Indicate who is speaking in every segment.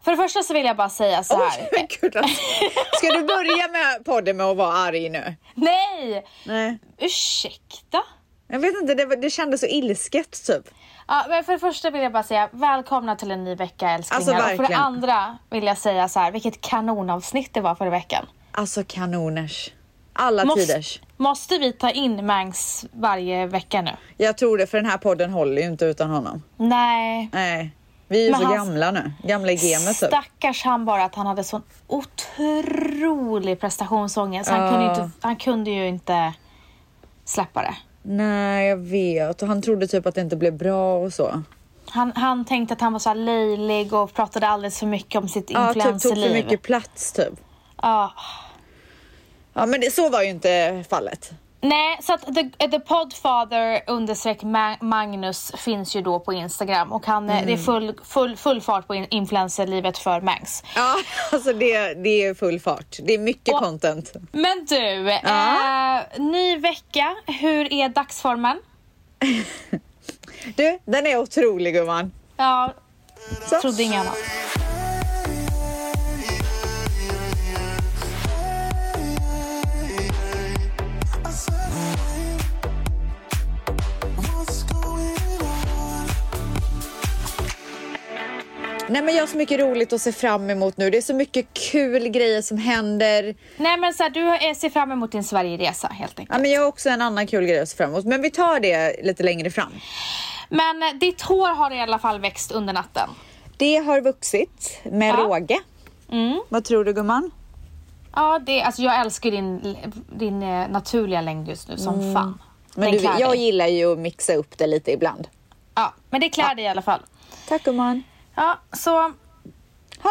Speaker 1: För det första så vill jag bara säga så här.
Speaker 2: Oj, men gud, alltså. Ska du börja med podden med att vara arg nu?
Speaker 1: Nej!
Speaker 2: Nej.
Speaker 1: Ursäkta?
Speaker 2: Jag vet inte, det, var- det kändes så ilsket typ.
Speaker 1: Ja, men för det första vill jag bara säga välkomna till en ny vecka
Speaker 2: Alltså,
Speaker 1: älsklingar. och för det
Speaker 2: verkligen.
Speaker 1: andra vill jag säga så här, vilket kanonavsnitt det var förra veckan.
Speaker 2: Alltså kanoners. Alla tiders.
Speaker 1: måste vi ta in Mangs varje vecka nu?
Speaker 2: Jag tror det, för den här podden håller ju inte utan honom.
Speaker 1: Nej.
Speaker 2: Nej. Vi är ju
Speaker 1: Men
Speaker 2: så
Speaker 1: han-
Speaker 2: gamla nu. Gamla i gamet typ.
Speaker 1: Stackars han bara att han hade sån otrolig prestationsångest. Han,
Speaker 2: Ja.
Speaker 1: kunde, ju inte, han kunde ju inte släppa det.
Speaker 2: Nej, jag vet. Och han trodde typ att det inte blev bra och så.
Speaker 1: Han, han tänkte att han var så här löjlig och pratade alldeles för mycket om sitt
Speaker 2: Ja, typ tog för
Speaker 1: influencerliv.
Speaker 2: mycket plats typ.
Speaker 1: Ja.
Speaker 2: Ja, men det, så var ju inte fallet.
Speaker 1: Nej, så att the, the Podfather understreck Ma- Magnus finns ju då på Instagram och han, eh, det är
Speaker 2: Mm.
Speaker 1: full, full, full fart på in- influencerlivet för Mangs.
Speaker 2: Ja, alltså det, det är full fart. Det är mycket
Speaker 1: Och-
Speaker 2: content.
Speaker 1: Men du, eh, ny vecka. Hur är dagsformen?
Speaker 2: Du, den är otrolig gumman.
Speaker 1: Ja,
Speaker 2: Så.
Speaker 1: trodde inget annat.
Speaker 2: Nej men jag har så mycket roligt att se fram emot nu. Det är så mycket kul grejer som händer.
Speaker 1: Nej men så här, du eh, ser fram emot din Sverigeresa helt enkelt.
Speaker 2: Ja, men jag har också en annan kul grej att se fram emot. Men vi tar det lite längre fram.
Speaker 1: Men eh, ditt hår har i alla fall växt under natten.
Speaker 2: Det har vuxit med
Speaker 1: Ja. Mm.
Speaker 2: råge. Vad tror du gumman?
Speaker 1: Ja, det, alltså jag älskar din, din eh, naturliga längd just nu som fan.
Speaker 2: Mm. Men
Speaker 1: Den
Speaker 2: du,
Speaker 1: klär
Speaker 2: jag
Speaker 1: dig.
Speaker 2: gillar ju att mixa upp det lite ibland.
Speaker 1: Ja, men det klär dig i alla fall.
Speaker 2: Tack gumman.
Speaker 1: Ja, så
Speaker 2: Ha.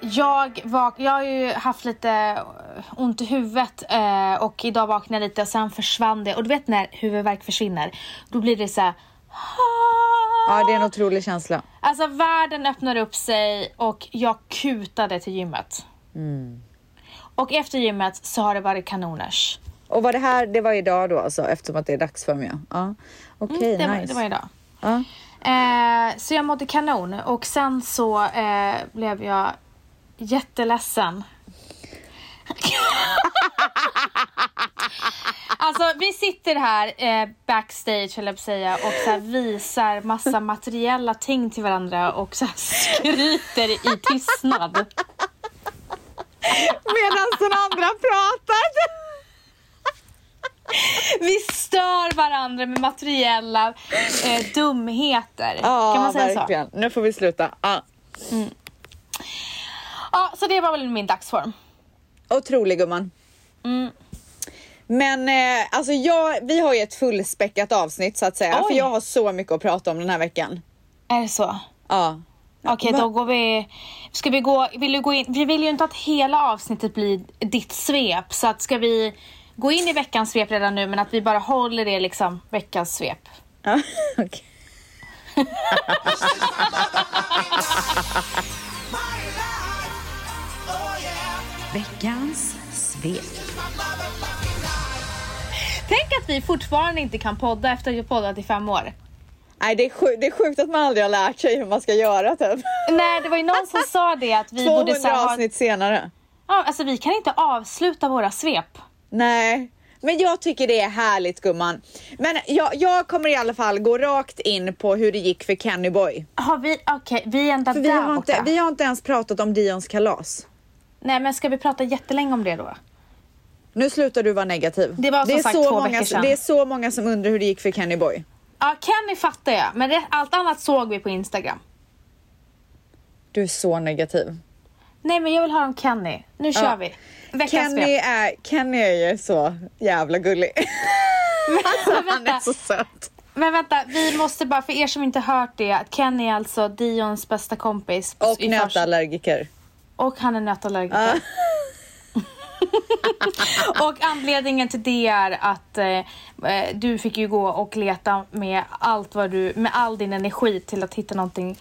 Speaker 1: jag, vak- jag har ju haft lite eh, ont i huvudet eh, och idag vaknade jag lite och sen försvann det. Och du vet när huvudvärk försvinner, då blir det så här...
Speaker 2: Ja, det är en otrolig känsla.
Speaker 1: Alltså världen öppnar upp sig och jag kutade till gymmet.
Speaker 2: Mm.
Speaker 1: Och efter gymmet så har det varit kanoners.
Speaker 2: Och var det här, det var idag då alltså eftersom att det är dags för mig. ja. Ja. Okej,
Speaker 1: Mm, det, var,
Speaker 2: nice.
Speaker 1: det var idag.
Speaker 2: Ja.
Speaker 1: Eh, så jag mådde kanon och sen så eh, blev jag jätteledsen. alltså vi sitter här eh, backstage höll jag på att säga och så här, visar massa materiella ting till varandra och så här, skryter i tystnad.
Speaker 2: Medan den andra pratar.
Speaker 1: Vi stör varandra med materiella eh, dumheter.
Speaker 2: Ja,
Speaker 1: kan man säga så?
Speaker 2: verkligen. Nu får vi sluta. Ja.
Speaker 1: Ja, så det var väl min dagsform.
Speaker 2: Otrolig gumman.
Speaker 1: Mm.
Speaker 2: Men eh, alltså jag, vi har ju ett fullspäckat avsnitt så att säga.
Speaker 1: Oj.
Speaker 2: För jag har så mycket att prata om den här veckan.
Speaker 1: Är det så?
Speaker 2: Ja.
Speaker 1: Okej,
Speaker 2: Va?
Speaker 1: då går vi... Ska vi gå... Vill du gå in? Vi vill ju inte att hela avsnittet blir ditt svep, så att ska vi gå in i veckans svep redan nu, men att vi bara håller det liksom veckans svep.
Speaker 2: ja. okej. Veckans svep.
Speaker 1: Tänk att vi fortfarande inte kan podda efter att vi har poddat i fem år.
Speaker 2: Nej det är, sjukt, det är sjukt att man aldrig har lärt sig hur man ska göra typ.
Speaker 1: Nej, det var ju någon som sa det att vi borde
Speaker 2: 200
Speaker 1: så här, ha...
Speaker 2: avsnitt senare.
Speaker 1: Ja, alltså vi kan inte avsluta våra svep.
Speaker 2: Nej, men jag tycker det är härligt gumman. Men jag, jag kommer i alla fall gå rakt in på hur det gick för Kenny Boy.
Speaker 1: Har vi... Okej, vi är ända
Speaker 2: För
Speaker 1: där
Speaker 2: vi, har
Speaker 1: borta.
Speaker 2: inte, vi har inte ens pratat om Dions kalas.
Speaker 1: Nej, men ska vi prata jättelänge om det då?
Speaker 2: Nu slutar du vara negativ.
Speaker 1: Det var som
Speaker 2: är
Speaker 1: sagt
Speaker 2: så
Speaker 1: två
Speaker 2: många,
Speaker 1: veckor sedan.
Speaker 2: Det är så många som undrar hur det gick för Kenny Boy.
Speaker 1: Ja, Kenny fattar jag, men det, allt annat såg vi på Instagram.
Speaker 2: Du är så negativ.
Speaker 1: Nej men jag vill höra om Kenny. Nu kör vi. Veckans
Speaker 2: Kenny
Speaker 1: svep.
Speaker 2: är, Kenny är ju så jävla gullig.
Speaker 1: Men
Speaker 2: Han är
Speaker 1: Alltså, vänta,
Speaker 2: så söt.
Speaker 1: men vänta, vi måste bara, för er som inte hört det, att Kenny är alltså Dions bästa kompis.
Speaker 2: Och
Speaker 1: Alltså, i förs-
Speaker 2: nötallergiker.
Speaker 1: Och han är nötallergiker. och anledningen till det är att eh, eh, du fick ju gå och leta med allt vad du, med all din energi till att hitta någonting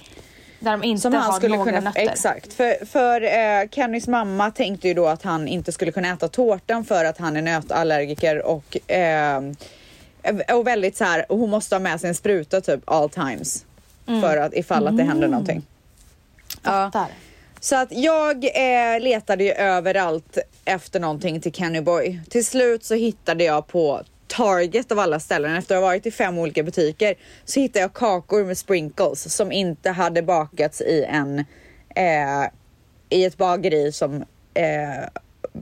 Speaker 1: Där de inte
Speaker 2: Som
Speaker 1: har
Speaker 2: han skulle
Speaker 1: några
Speaker 2: kunna...
Speaker 1: nötter.
Speaker 2: Exakt. För, för eh, Kennys mamma tänkte ju då att han inte skulle kunna äta tårtan för att han är nötallergiker och, eh, och väldigt så här, hon måste ha med sig en spruta typ all times. För att ifall att det händer någonting. Ja.
Speaker 1: Mm. Fattar.
Speaker 2: Så att jag eh, letade ju överallt efter någonting till Kenny Boy. Till slut så hittade jag på Target av alla ställen, efter att ha varit i fem olika butiker, så hittade jag kakor med sprinkles som inte hade bakats i en eh, i ett bageri som eh,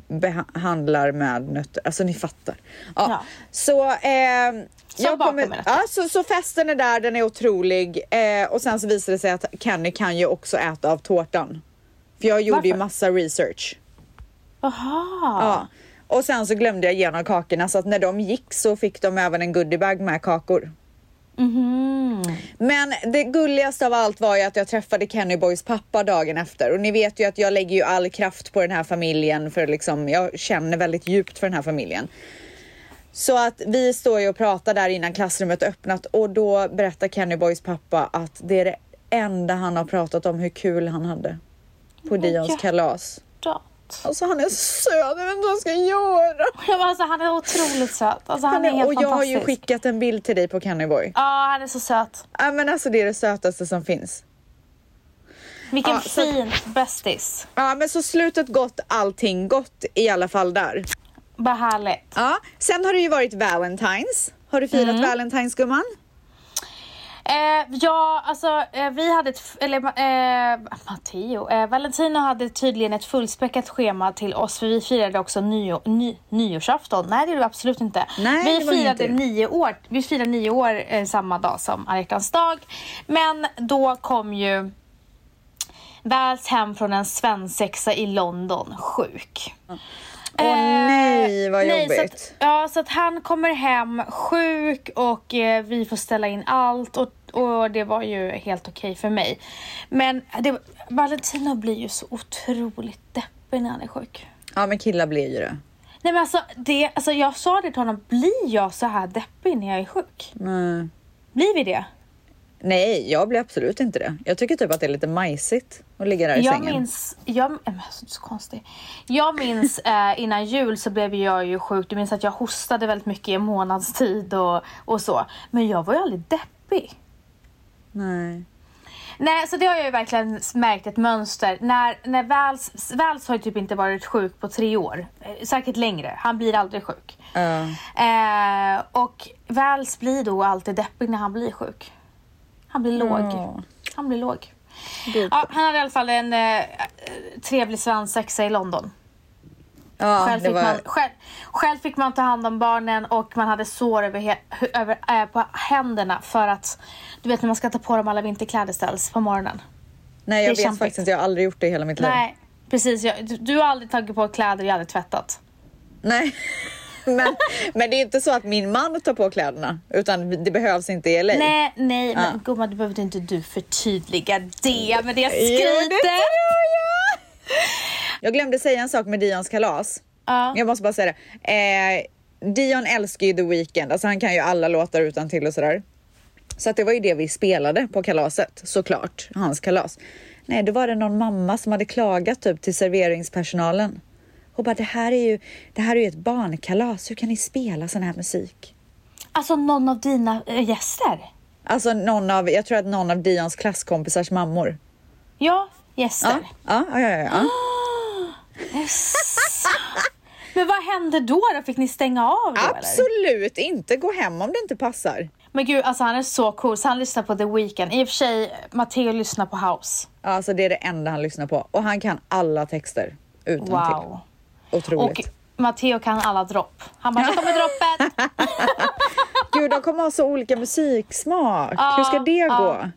Speaker 2: behandlar med nötter. Alltså ni fattar. Ja.
Speaker 1: Ja.
Speaker 2: Så eh,
Speaker 1: Som
Speaker 2: jag
Speaker 1: bakar
Speaker 2: kommer,
Speaker 1: med nötter.
Speaker 2: ja, så, så festen är där, den är otrolig eh, och sen så visar det sig att Kenny kan ju också äta av tårtan. För jag gjorde ju
Speaker 1: Varför?
Speaker 2: massa research.
Speaker 1: Jaha.
Speaker 2: Ja. Och sen så glömde jag igenom kakorna så att när de gick så fick de även en goodiebag med kakor.
Speaker 1: Mhm.
Speaker 2: Men det gulligaste av allt var ju att jag träffade Kenny Boys pappa dagen efter och ni vet ju att jag lägger ju all kraft på den här familjen för liksom jag känner väldigt djupt för den här familjen. Så att vi står ju och pratar där innan klassrummet öppnat och då berättar Kenny Boys pappa att det är det enda han har pratat om hur kul han hade på Dions
Speaker 1: ja.
Speaker 2: kalas.
Speaker 1: Dot.
Speaker 2: Alltså han är så söt, jag vet inte vad jag ska göra.
Speaker 1: Ja, men Alltså, han är otroligt söt. Alltså, han, är, helt
Speaker 2: och jag har ju
Speaker 1: fantastisk.
Speaker 2: skickat en bild till dig på Kenny Boy.
Speaker 1: Ja, han är så söt.
Speaker 2: Ja men alltså det är det sötaste som finns.
Speaker 1: Vilken
Speaker 2: Ja, så-
Speaker 1: fin bästis.
Speaker 2: Ja men så slutet gott, allting gott i alla fall där.
Speaker 1: Vad härligt.
Speaker 2: Ja, sen har det ju varit Valentines. Har du firat Valentines gumman?
Speaker 1: Eh, ja, alltså eh, vi hade ett, f- eller eh, Matteo, eh, Valentino hade tydligen ett fullspäckat schema till oss för vi firade också nyår, ny, nyårsafton. Nej det gjorde vi absolut inte.
Speaker 2: Nej, det
Speaker 1: vi
Speaker 2: var ju
Speaker 1: firade
Speaker 2: inte det.
Speaker 1: nio år, vi firade nio år eh, samma dag som alla hjärtans dag. Men då kom ju Väls hem från en svensexa i London sjuk. Eh,
Speaker 2: Åh nej, vad
Speaker 1: Så
Speaker 2: jobbigt.
Speaker 1: att, ja, så att han kommer hem sjuk och eh, vi får ställa in allt och, och det var ju helt okej för mig. Men det, Valentino blir ju så otroligt deppig när han är sjuk.
Speaker 2: Ja men killar blir ju det.
Speaker 1: Nej men alltså, det, alltså jag sa det till honom, blir jag så här deppig när jag är sjuk?
Speaker 2: Nej.
Speaker 1: Blir vi det?
Speaker 2: Nej, jag blir absolut inte det. Jag tycker typ att det är lite majsigt att ligga där i
Speaker 1: Jag
Speaker 2: sängen.
Speaker 1: minns, jag, äh, men alltså, så konstig. Jag minns eh, innan jul så blev jag ju sjuk. Du minns att jag hostade väldigt mycket i en månads tid och, och så. Men jag var ju aldrig deppig.
Speaker 2: Nej.
Speaker 1: Nej, så det har jag ju verkligen märkt ett mönster. När, när Vals, Vals har ju typ inte varit sjuk på tre år. Eh, Säkert längre. Han blir aldrig sjuk.
Speaker 2: Ja.
Speaker 1: Eh, och Vals blir då alltid deppig när han blir sjuk. Han blir låg.
Speaker 2: Ja.
Speaker 1: Han blir låg.
Speaker 2: Gud.
Speaker 1: Ja, han hade i alla fall en eh, trevlig svensexa i London.
Speaker 2: ja,
Speaker 1: Själv
Speaker 2: det
Speaker 1: fick, man,
Speaker 2: var...
Speaker 1: själv, själv fick man ta hand om barnen och man hade sår över, he, hu- över, eh, på händerna för att du vet när man ska ta på dem alla vinterkläder ställs på morgonen.
Speaker 2: Nej, jag
Speaker 1: det är
Speaker 2: vet
Speaker 1: kämpigt.
Speaker 2: faktiskt inte. Jag har aldrig gjort det i hela mitt liv.
Speaker 1: Nej, precis. Jag, du, du har aldrig tagit på kläder, jag har aldrig tvättat.
Speaker 2: Nej. Men, men det är inte så att min man tar på kläderna utan det behövs inte i LA.
Speaker 1: Nej, nej, men
Speaker 2: Ja.
Speaker 1: gumman det behövde inte du förtydliga det med det
Speaker 2: Jo, det
Speaker 1: skrytet.
Speaker 2: Jag glömde säga en sak med Dions kalas.
Speaker 1: Ja.
Speaker 2: Jag måste bara säga det. Eh, Dion älskar ju The Weeknd, alltså han kan ju alla låtar utan till och sådär. Så att det var ju det vi spelade på kalaset, såklart, hans kalas. Nej, då var det någon mamma som hade klagat typ till serveringspersonalen. Hon bara, det här är ju, det här är ju ett barnkalas, hur kan ni spela sån här musik?
Speaker 1: Alltså någon av dina eh, gäster.
Speaker 2: Alltså någon av, jag tror att någon av Dions klasskompisars mammor.
Speaker 1: Ja,
Speaker 2: Ja,
Speaker 1: gäster.
Speaker 2: ja, ja, ja, ja.
Speaker 1: Yes. men vad hände då, då? Fick ni stänga av då eller?
Speaker 2: Absolut inte, gå hem om det inte passar.
Speaker 1: Men gud, alltså han är så cool. Så han lyssnar på The Weeknd. I och för sig, Matteo lyssnar på House.
Speaker 2: Ja, Alltså det är det enda han lyssnar på och han kan alla texter utan
Speaker 1: Wow.
Speaker 2: till.
Speaker 1: Och
Speaker 2: Otroligt.
Speaker 1: Matteo kan alla dropp. Han bara, nu kommer droppet!
Speaker 2: Gud, de kommer ha så olika musiksmak.
Speaker 1: Ja,
Speaker 2: Hur ska det
Speaker 1: ja.
Speaker 2: gå?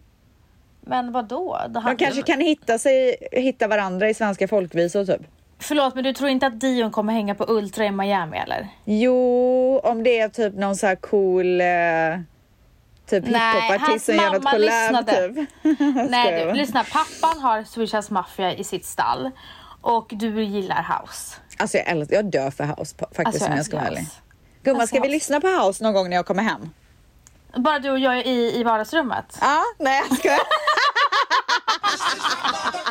Speaker 1: Men vadå? Han,
Speaker 2: De kanske kan hitta, sig, hitta varandra i svenska folkvisor typ.
Speaker 1: Förlåt, men du tror inte att Dion kommer hänga på Ultra i Miami eller?
Speaker 2: Jo, om det är typ någon så här cool eh, typ
Speaker 1: Nej,
Speaker 2: hiphopartist
Speaker 1: hans
Speaker 2: som gör något
Speaker 1: mamma
Speaker 2: collab
Speaker 1: lyssnade.
Speaker 2: typ.
Speaker 1: Nej
Speaker 2: Skojar
Speaker 1: du,
Speaker 2: bara.
Speaker 1: lyssna. Pappan har Swishas Mafia i sitt stall och du gillar house.
Speaker 2: Alltså jag älskar, jag dör för house pa- faktiskt
Speaker 1: Alltså,
Speaker 2: om jag ska vara
Speaker 1: älskar
Speaker 2: ärlig.
Speaker 1: house.
Speaker 2: Gumman,
Speaker 1: Älskar
Speaker 2: ska vi
Speaker 1: house.
Speaker 2: lyssna på house någon gång när jag kommer hem?
Speaker 1: Bara du och jag i, i vardagsrummet.
Speaker 2: Ja, nej jag skojar.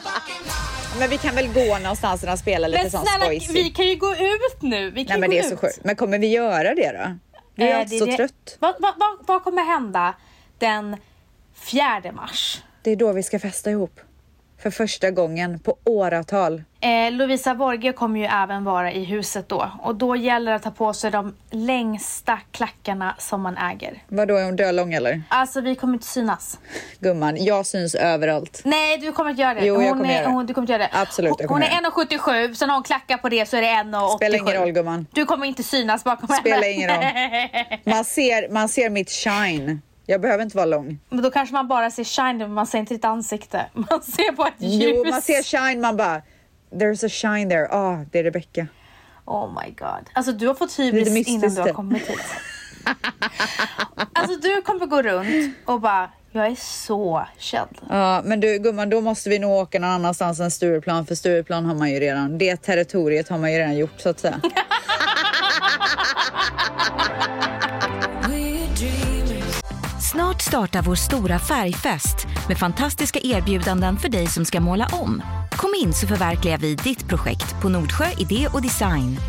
Speaker 2: men vi kan väl gå någonstans och spela lite
Speaker 1: Men
Speaker 2: sån
Speaker 1: snälla,
Speaker 2: skojsig.
Speaker 1: vi kan ju gå ut nu. Vi kan
Speaker 2: Nej men
Speaker 1: ju
Speaker 2: det
Speaker 1: gå
Speaker 2: är så
Speaker 1: ut.
Speaker 2: sjukt. Men kommer vi göra det då? Du är
Speaker 1: Eh,
Speaker 2: alltid så
Speaker 1: det-
Speaker 2: trött.
Speaker 1: Vad, vad, vad, vad kommer hända den 4 mars?
Speaker 2: Det är då vi ska festa ihop. För första gången på åratal.
Speaker 1: Eh, Lovisa Borge kommer ju även vara i huset då och då gäller det att ta på sig de längsta klackarna som man äger.
Speaker 2: Vadå, är hon dölång eller?
Speaker 1: Alltså vi kommer inte synas.
Speaker 2: Gumman, jag syns överallt.
Speaker 1: Nej, du kommer inte göra det.
Speaker 2: Jo, jag
Speaker 1: Hon
Speaker 2: kommer
Speaker 1: är,
Speaker 2: göra det.
Speaker 1: Hon, du kommer inte göra det.
Speaker 2: Absolut, jag
Speaker 1: Hon-
Speaker 2: kommer göra
Speaker 1: Hon är 1,77, sen har hon klackar på det så är det 1,87.
Speaker 2: Spelar ingen roll gumman.
Speaker 1: Du kommer inte synas bakom
Speaker 2: Spelar
Speaker 1: henne.
Speaker 2: ingen roll. Man ser, man ser mitt shine. Jag behöver inte vara lång.
Speaker 1: Men då kanske man bara ser shine, men man ser inte ditt ansikte. Man ser bara ett ljus.
Speaker 2: Jo, man ser shine, man bara there's a shine there. Ah, det är Rebecca.
Speaker 1: Oh my god. Alltså du har fått
Speaker 2: Lite
Speaker 1: hybris
Speaker 2: mystiskt
Speaker 1: innan du har
Speaker 2: det.
Speaker 1: kommit hit. alltså du kommer gå runt och bara, jag är så känd.
Speaker 2: Ja, men du gumman, då måste vi nog åka någon annanstans än Stureplan, för Stureplan har man ju redan. Det territoriet har man ju redan gjort så att säga.
Speaker 3: Snart startar vår stora färgfest med fantastiska erbjudanden för dig som ska måla om. Kom in så förverkligar vi ditt projekt på Nordsjö Idé och Design.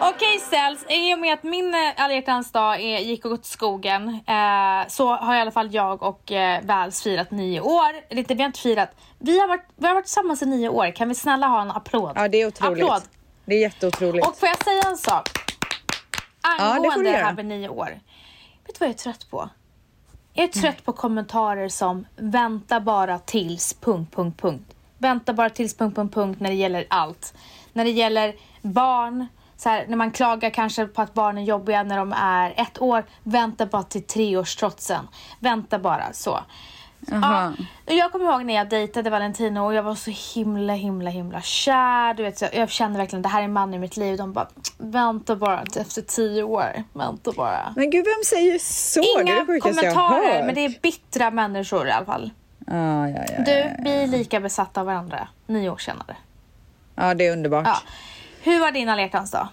Speaker 1: Okej Sells, i och med att min eh, alla hjärtans dag är, gick och åt skogen eh, så har i alla fall jag och eh, Väls firat nio år. Eller inte, vi har inte firat. Vi har, varit, vi har varit tillsammans i nio år. Kan vi snälla ha en applåd?
Speaker 2: Ja, det är otroligt.
Speaker 1: Applåd.
Speaker 2: Det är jätteotroligt.
Speaker 1: Och får jag säga en sak?
Speaker 2: det får du
Speaker 1: Angående det
Speaker 2: göra.
Speaker 1: här med nio år. Vet du vad jag är trött på? Jag är trött på kommentarer som vänta bara tills... Punkt, punkt, punkt. Vänta bara tills... Punkt, punkt, punkt när det gäller allt. När det gäller barn, så här, när man klagar kanske på att barnen är jobbiga när de är ett år. Vänta bara till treårstrotsen. Vänta bara så. Ja, och jag kommer ihåg när jag dejtade Valentino och jag var så himla, himla, himla kär. Du vet, så jag, jag kände verkligen det här är mannen i mitt liv. De bara, vänta bara till efter tio år. Vänta bara.
Speaker 2: Men gud, vem säger så? det är
Speaker 1: Inga
Speaker 2: det sjukaste jag har
Speaker 1: kommentarer,
Speaker 2: hört.
Speaker 1: men det är bittra människor i alla fall.
Speaker 2: Ja, ja, ja, ja.
Speaker 1: Du, vi är lika besatta av varandra nio år senare.
Speaker 2: ja, det är underbart.
Speaker 1: Ja. Hur var din alla hjärtans dag?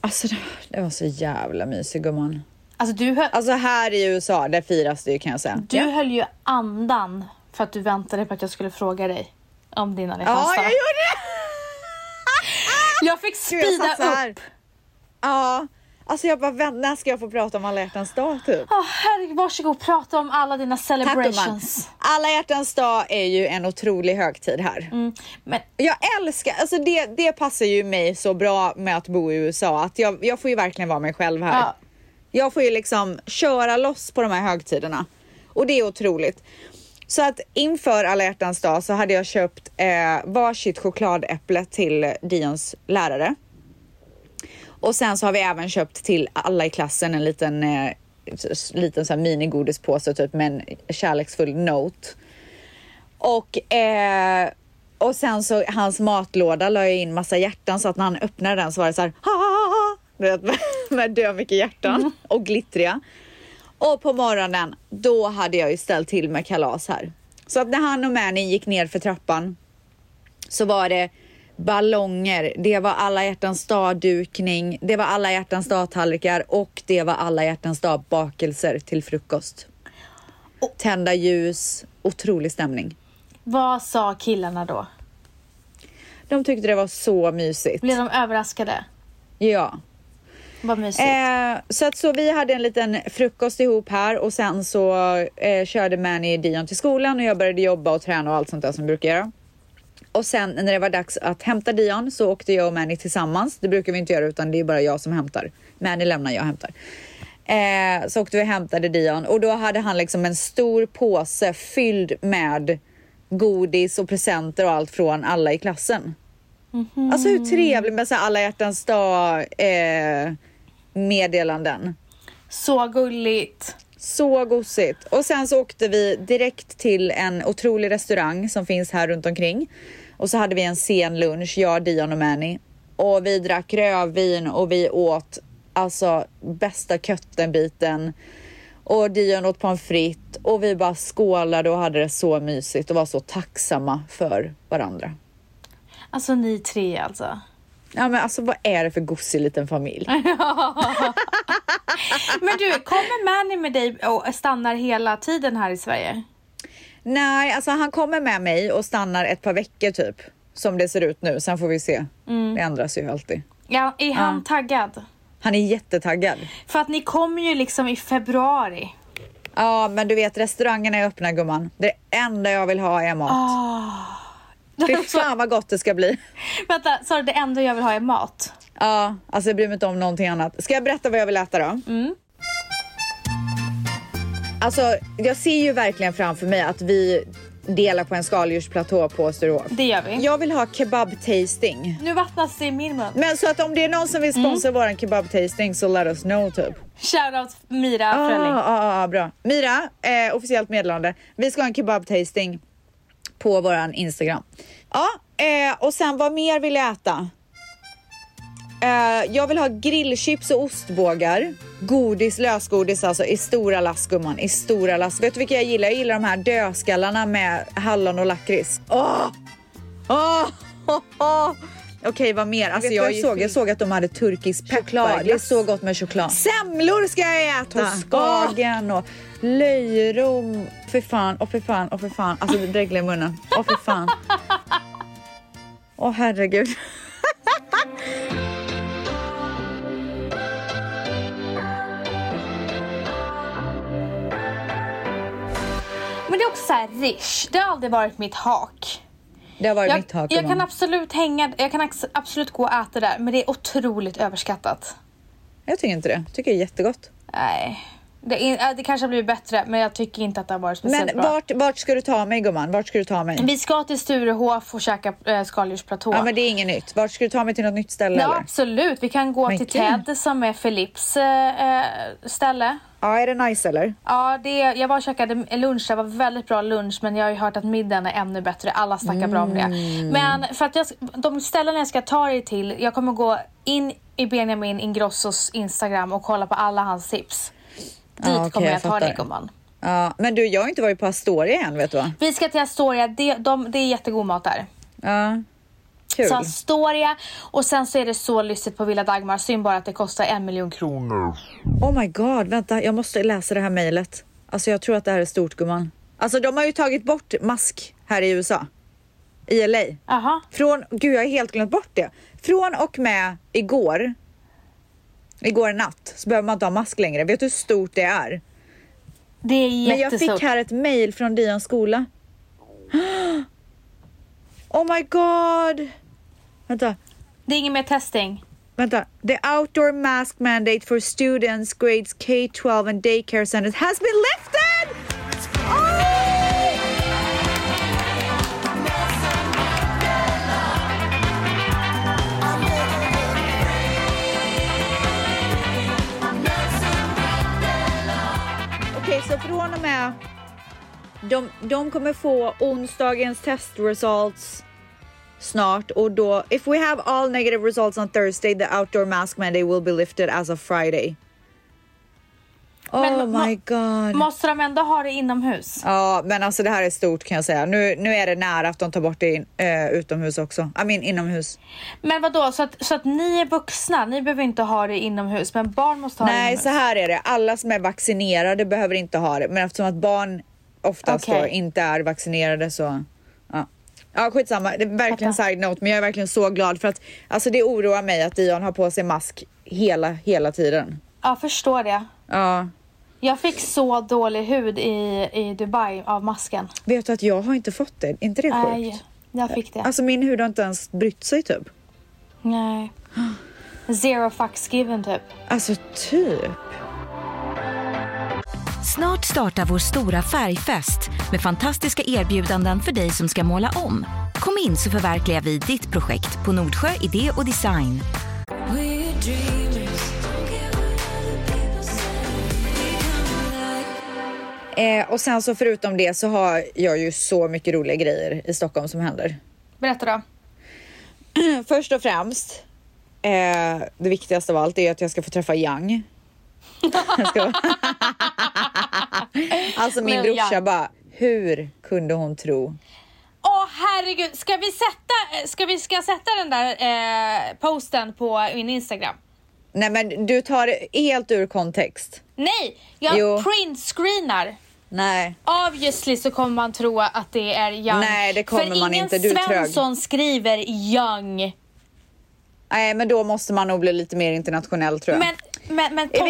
Speaker 2: Alltså, det var- det var så jävla mysigt gumman.
Speaker 1: Alltså du, höll,
Speaker 2: Alltså här i USA, där firas det ju kan jag säga.
Speaker 1: du höll ju andan för att du väntade på att jag skulle fråga dig om din alla hjärtans
Speaker 2: Ja,
Speaker 1: dag.
Speaker 2: jag gjorde det!
Speaker 1: Jag fick
Speaker 2: Gud, jag
Speaker 1: speeda
Speaker 2: satt så här.
Speaker 1: upp.
Speaker 2: Ja, alltså jag bara, "Vem- när ska jag få prata om alla hjärtans dag typ?
Speaker 1: Oh, herregud, varsågod, prata om alla dina
Speaker 2: Tack gumman.
Speaker 1: celebrations.
Speaker 2: Alla hjärtans dag är ju en otrolig högtid här.
Speaker 1: Mm, men
Speaker 2: Jag älskar, alltså det, det passar ju mig så bra med att bo i USA att jag, jag får ju verkligen vara mig själv här.
Speaker 1: Ja.
Speaker 2: Jag får ju liksom köra loss på de här högtiderna och det är otroligt. Så att inför alla hjärtans dag så hade jag köpt eh, varsitt chokladäpple till Dions lärare. Och sen så har vi även köpt till alla i klassen en liten, eh, s- liten så här minigodispåse typ med en kärleksfull note. Och, eh, och sen så hans matlåda la jag in massa hjärtan så att när han öppnade den så var det så här "Ha, ha, ha, ha", du vet, med, med dö mycket hjärtan och glittriga. Och på morgonen då hade jag ju ställt till med kalas här. Så att när han och Mani gick ner för trappan så var det ballonger, det var alla hjärtans dag-dukning, det var alla hjärtans dag-tallrikar och det var alla hjärtans dag-bakelser till frukost. Tända ljus, otrolig stämning.
Speaker 1: vad sa killarna då?
Speaker 2: De tyckte det var så mysigt.
Speaker 1: Blev de överraskade?
Speaker 2: Ja.
Speaker 1: Vad mysigt.
Speaker 2: Eh, så att så vi hade en liten frukost ihop här och sen så eh, körde Manny Dion till skolan och jag började jobba och träna och allt sånt där som jag brukar göra. Och sen när det var dags att hämta Dion så åkte jag och Manny tillsammans. Det brukar vi inte göra utan det är bara jag som hämtar. Manny lämnar, jag hämtar. Eh, så åkte vi och hämtade Dion och då hade han liksom en stor påse fylld med godis och presenter och allt från alla i klassen. Alltså hur trevligt med så här alla hjärtans dag eh, meddelanden.
Speaker 1: Så gulligt.
Speaker 2: Så gosigt. Och sen så åkte vi direkt till en otrolig restaurang som finns här runt omkring. Och så hade vi en sen lunch, jag, Dion och Manny. Och vi drack rödvin och vi åt alltså bästa köttenbiten. Och Dion åt pommes frites och vi bara skålade och hade det så mysigt och var så tacksamma för varandra.
Speaker 1: Alltså ni tre alltså.
Speaker 2: Ja men alltså vad är det för gosig liten familj?
Speaker 1: Men du, kommer Manny med dig och stannar hela tiden här i Sverige?
Speaker 2: Nej, alltså han kommer med mig och stannar ett par veckor typ. Som det ser ut nu. Sen får vi se. Det ändras ju alltid.
Speaker 1: Ja, är han taggad?
Speaker 2: Han är jättetaggad.
Speaker 1: För att ni kommer ju liksom i februari.
Speaker 2: Ja, men du vet restaurangerna är öppna gumman. Det enda jag vill ha är mat. Ah. Fy fan vad gott det ska bli.
Speaker 1: Vänta, sa du det enda jag vill ha är mat?
Speaker 2: Ja, alltså jag bryr mig inte om någonting annat. Ska jag berätta vad jag vill äta då? Alltså, jag ser ju verkligen framför mig att vi delar på en skaldjursplatå på Sturehof.
Speaker 1: Det gör vi.
Speaker 2: Jag vill ha kebab-tasting.
Speaker 1: Nu vattnas det i min mun.
Speaker 2: Men så att om det är någon som vill sponsra våran kebab-tasting så let us know typ.
Speaker 1: Shoutout Mira
Speaker 2: Ja,
Speaker 1: Fröling.
Speaker 2: ah, ah, ah, bra. Mira, eh, officiellt meddelande. Vi ska ha en kebab-tasting på våran Instagram. Ja, eh, och sen vad mer vill jag äta? Eh, jag vill ha grillchips och ostbågar. Godis, lösgodis alltså i stora lass gumman. I stora lass. Vet du vilka jag gillar? Jag gillar de här dödskallarna med hallon och lakrits. Åh! Åh! Okej, vad mer? Alltså,
Speaker 4: du
Speaker 2: jag,
Speaker 4: vad jag
Speaker 2: såg, jag såg att de hade turkisk peppar. Det är så gott med choklad. Semlor ska jag äta! Toskagen och löjrom. Fy fan, åh fy fan, åh fy fan. Alltså det dreglar i munnen. Åh fy fan. Åh herregud.
Speaker 1: Men det är också så här rish. Det har aldrig varit mitt hak.
Speaker 2: Det har varit
Speaker 1: Jag,
Speaker 2: mitt tak.
Speaker 1: jag
Speaker 2: gumman.
Speaker 1: kan absolut hänga, jag kan ax- absolut gå och äta där, men det är otroligt överskattat.
Speaker 2: Jag tycker inte det. Jag tycker det är jättegott.
Speaker 1: Nej. Det, är, äh, det kanske har blivit bättre, men jag tycker inte att det har varit speciellt
Speaker 2: Men
Speaker 1: bra.
Speaker 2: vart, vart ska du ta mig gumman? Vart ska du ta mig?
Speaker 1: Vi ska till Sturehof och käka äh, skaldjursplatå.
Speaker 2: Ja men det är inget nytt. Vart ska du ta mig till något nytt ställe
Speaker 1: Ja,
Speaker 2: eller?
Speaker 1: absolut. Vi kan gå
Speaker 2: Men
Speaker 1: till
Speaker 2: gud.
Speaker 1: Ted som är Philips eh, eh, ställe.
Speaker 2: Ja är det nice eller?
Speaker 1: Ja, det, jag var och käkade lunch, det var väldigt bra lunch men jag har ju hört att middagen är ännu bättre. Alla snackar bra om det.
Speaker 2: Mm.
Speaker 1: Men för att jag, de ställen jag ska ta dig till, jag kommer gå in i Benjamin Ingrossos Instagram och kolla på alla hans tips. Dit
Speaker 2: okej,
Speaker 1: kommer jag,
Speaker 2: jag
Speaker 1: ta
Speaker 2: fattar.
Speaker 1: dig gumman.
Speaker 2: Ja, men du jag har inte varit på Astoria än vet du va?
Speaker 1: Vi ska till Astoria, det, de, det är jättegod mat där.
Speaker 2: Ja. Kul.
Speaker 1: Så Astoria och sen så är det så lyssigt på Villa Dagmar, synd bara att det kostar en miljon kronor.
Speaker 2: Oh my god, vänta jag måste läsa det här mejlet. Alltså jag tror att det här är stort gumman. Alltså de har ju tagit bort mask här i USA. I LA.
Speaker 1: Jaha.
Speaker 2: Från, gud jag har helt glömt bort det. Från och med igår, igår natt, så behöver man inte ha mask längre. Vet du hur stort det är?
Speaker 1: Det är
Speaker 2: Men jag
Speaker 1: jättestort.
Speaker 2: fick här ett mejl från Dions skola. Oh my god! Vänta,
Speaker 1: Det är inget mer testing.
Speaker 2: vänta. The outdoor mask mandate for students grades K-12 and daycare centers has been lifted! Oh! Okej, så från och med... De, de kommer få onsdagens test results snart och då... If we have all negative results on Thursday the outdoor mask mandate will be lifted as of Friday. Oh
Speaker 1: Men må-
Speaker 2: my god.
Speaker 1: Måste de ändå ha det inomhus?
Speaker 2: Ja, men alltså det här är stort kan jag säga. Nu, nu är det nära att de tar bort det in, eh, utomhus också. Jag mean inomhus.
Speaker 1: Men vad då? så att, så att ni är vuxna, ni behöver inte ha det inomhus, men barn måste ha det
Speaker 2: Nej,
Speaker 1: inomhus?
Speaker 2: så här är det. Alla som är vaccinerade behöver inte ha det, men eftersom att barn oftast då
Speaker 1: Okej.
Speaker 2: inte är vaccinerade så ja. Ja, skitsamma. Det är verkligen side note, men jag är verkligen så glad för att alltså det oroar mig att Dion har på sig mask hela hela tiden.
Speaker 1: Jag förstår det.
Speaker 2: Ja,
Speaker 1: Jag fick så dålig hud i, i Dubai av masken.
Speaker 2: vet du att jag har inte fått det? Inte det sjukt?
Speaker 1: Nej, jag fick det.
Speaker 2: Alltså min hud har inte ens brytt sig typ.
Speaker 1: Nej. Zero fucks given typ.
Speaker 2: Alltså typ.
Speaker 3: Snart startar vår stora färgfest med fantastiska erbjudanden för dig som ska måla om. Kom in så förverkligar vi ditt projekt på Nordsjö Idé och Design.
Speaker 5: We're dreamers. Don't care what other people say. We come alive.
Speaker 2: Eh, och sen så förutom det så har jag ju så mycket roliga grejer i Stockholm som händer.
Speaker 1: Berätta då.
Speaker 2: Först och främst, eh, det viktigaste av allt är att jag ska få träffa Yang. Jag ska- alltså min
Speaker 1: Men
Speaker 2: brorsa
Speaker 1: Yang.
Speaker 2: bara, hur kunde hon tro?
Speaker 1: Åh herregud, ska vi sätta, ska vi ska sätta den där eh, posten på min Instagram?
Speaker 2: Nej men du tar det helt ur kontext.
Speaker 1: Nej, jag
Speaker 2: Jo.
Speaker 1: printscreenar.
Speaker 2: Nej.
Speaker 1: Obviously så kommer man tro att det är young.
Speaker 2: Nej, det kommer
Speaker 1: För
Speaker 2: man
Speaker 1: ingen
Speaker 2: inte. Du är trög.
Speaker 1: Svensson skriver young.
Speaker 2: Nej, men då måste man nog bli lite mer internationell tror jag.
Speaker 1: Men, men, men Toffe är